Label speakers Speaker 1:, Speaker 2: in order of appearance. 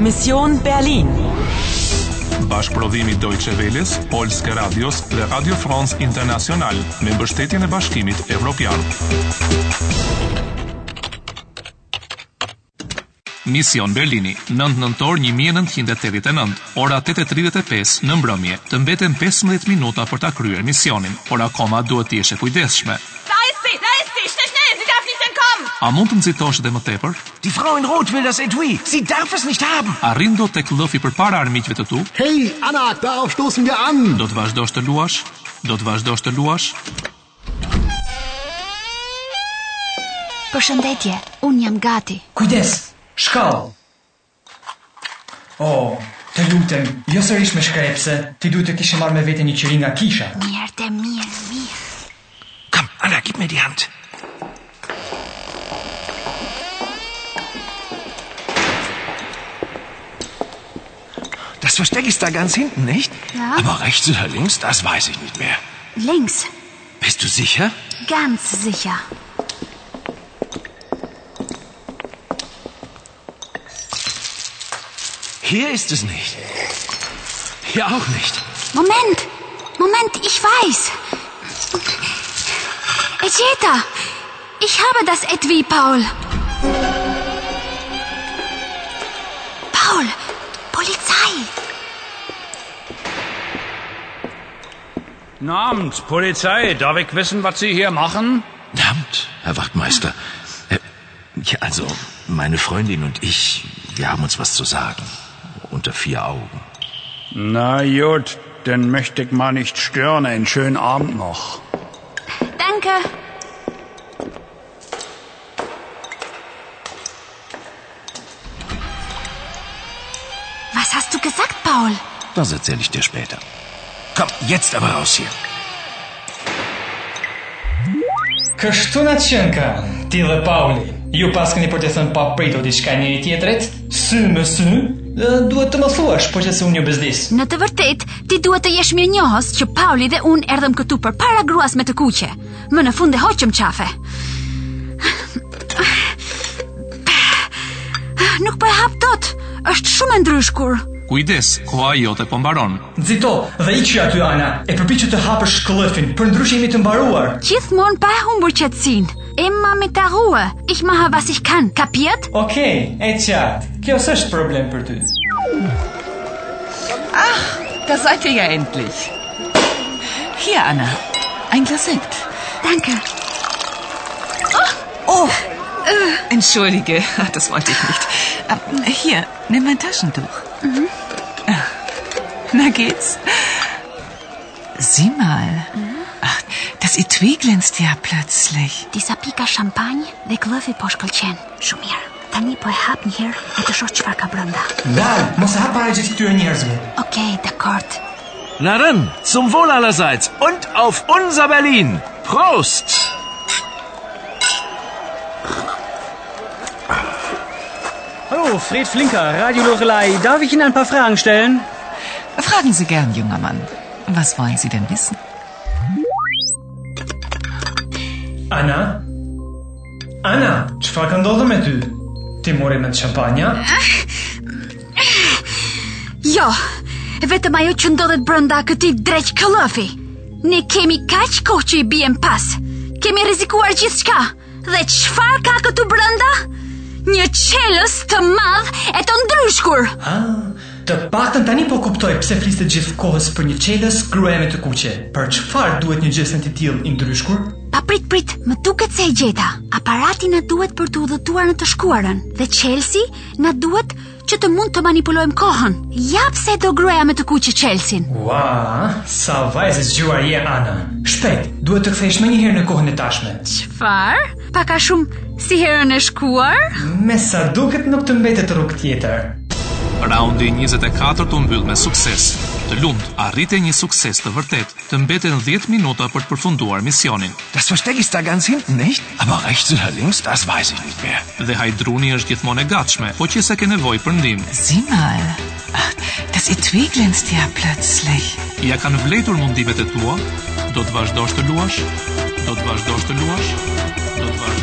Speaker 1: Mission Berlin.
Speaker 2: Bashkëprodhimi Deutsche Welles, Polske Radios dhe Radio France International me mbështetjen e Bashkimit Evropian. Mision Berlini, 9 nëntor 1989, ora 8:35 në mbrëmje. Të mbeten 15 minuta për ta kryer misionin. Por akoma duhet të jesh e kujdesshme.
Speaker 3: Da ist sie, da ist sie, schnell, schnell, sie darf nicht entkommen.
Speaker 2: A mund të nxitosh edhe më tepër?
Speaker 4: Die Frau in Rot will das Etui. Sie darf es nicht haben.
Speaker 2: Arrin do tek lëfi përpara armiqve të tu?
Speaker 5: Hey, Anna, darauf stoßen wir an.
Speaker 2: Do të vazhdosh të luash? Do të vazhdosh të luash?
Speaker 6: Përshëndetje, unë jam gati.
Speaker 7: Kujdes, shkall. Oh, të lutem, jo sërish me shkrepse, ti duhet të kishe marrë me vete një qiri nga kisha.
Speaker 6: Mirë të mirë, mirë.
Speaker 4: Komm, Anna, gib mir die Hand. Das Versteck ist da ganz hinten, nicht?
Speaker 6: Ja.
Speaker 4: Aber rechts oder links, das weiß ich nicht mehr.
Speaker 6: Links,
Speaker 4: Bist du sicher?
Speaker 6: ganz sicher.
Speaker 4: Hier ist es nicht. Hier auch nicht.
Speaker 6: Moment, Moment, ich weiß. Ejeta, ich habe das Etui, Paul. Paul, Polizei.
Speaker 8: Guten Abend, Polizei. Darf ich wissen, was Sie hier machen?
Speaker 5: Verdammt, Herr Wachtmeister. Äh, ja, also, meine Freundin und ich, wir haben uns was zu sagen. Unter vier Augen.
Speaker 8: Na gut, dann möchte ich mal nicht stören. Einen schönen Abend noch.
Speaker 6: Danke. Was hast du gesagt, Paul?
Speaker 5: Das erzähle ich dir später.
Speaker 4: Komm, jetzt aber raus hier.
Speaker 7: Kështu na qenë ka, ti dhe Pauli. Ju pas keni për të thënë pa pritur diçka njëri tjetrit, sy më sy, e, duhet të më thuash, po që se unë një bezdis.
Speaker 6: Në të vërtet, ti duhet të jesh mirë njohës që Pauli dhe unë erdhëm këtu për para gruas me të kuqe. Më në fund e hoqëm qafe. Nuk po e hap dot. Është shumë e ndryshkur.
Speaker 2: Kujdes, koha jote po mbaron.
Speaker 7: Nxito dhe iqi aty Ana, e përpiqu të hapësh këllëfin, për ndryshe jemi të mbaruar.
Speaker 6: Gjithmonë pa e humbur qetësinë. Emma mit der Ruhe. Ich mache was ich kann. Kapiert?
Speaker 7: Okej, e qartë. Kjo s'është problem për ty.
Speaker 9: Da seid ihr ja endlich. Hier, Anna. Ein Glas Sekt.
Speaker 6: Danke.
Speaker 9: Oh, Äh. entschuldige, das wollte ich nicht. Ähm, Hier, nimm mein Taschentuch. Äh, Na geht's? Sieh mal. Ach, das Etui glänzt ja plötzlich.
Speaker 6: Disa pika shampanjë dhe klëfi po shkëlqen. Shumë mirë. Tani po e hap një herë e të shoh çfarë ka brenda.
Speaker 7: Dal, mos e hap para gjithë këtyre njerëzve.
Speaker 6: Okej, dakord.
Speaker 4: Na dann, zum Wohl allerseits und auf unser Berlin. Prost!
Speaker 10: Hallo, Fred Flinker, Radio Lorelei. Darf ich Ihnen ein paar Fragen stellen?
Speaker 9: Fragen Sie gern, junger Mann. Was wollen Sie denn wissen?
Speaker 7: Ana? Ana, çfarë ka ndodhur me ty? Ti mori me shampanja?
Speaker 6: Jo, vetëm ajo që ndodhet brenda këtij dreq këllëfi. Ne kemi kaq kohë që i bijem pas. Kemi rrezikuar gjithçka. Dhe çfarë ka këtu brenda? Një qelës të madh e të ndryshkur.
Speaker 7: Ah, të paktën tani po kuptoj pse fliste gjithë kohës për një çelës grueme të kuqe. Për çfarë duhet një gjesen të tillë i ndryshkur?
Speaker 6: Pa prit prit, më duket se e gjeta. Aparati na duhet për të udhëtuar në të shkuarën dhe Chelsea na duhet që të mund të manipulojmë kohën. Jap se do gruaja me të kuqe Chelsea.
Speaker 7: Ua, sa vajzë zgjuar je Ana. Shpejt, duhet të kthehesh më një herë në kohën e tashme.
Speaker 6: Çfarë? Pak a shumë si herën e shkuar?
Speaker 7: Me sa duket nuk të mbetet rrugë tjetër.
Speaker 2: Raundi 24 të mbyll me sukses. Të lumt, arrite një sukses të vërtet. Të mbeten 10 minuta për të përfunduar misionin.
Speaker 4: Das Versteck ist da ganz hinten, nicht? Aber rechts oder links, das weiß ich nicht mehr.
Speaker 2: Dhe Hajdruni është gjithmonë e gatshme, po që se ke nevojë për ndihmë.
Speaker 9: Sieh mal. Ach, das Etui glänzt ja plötzlich.
Speaker 2: Ja kanë vletur mundimet e tua? Do të vazhdosh të luash? Do të vazhdosh të luash? Do të vazhdosh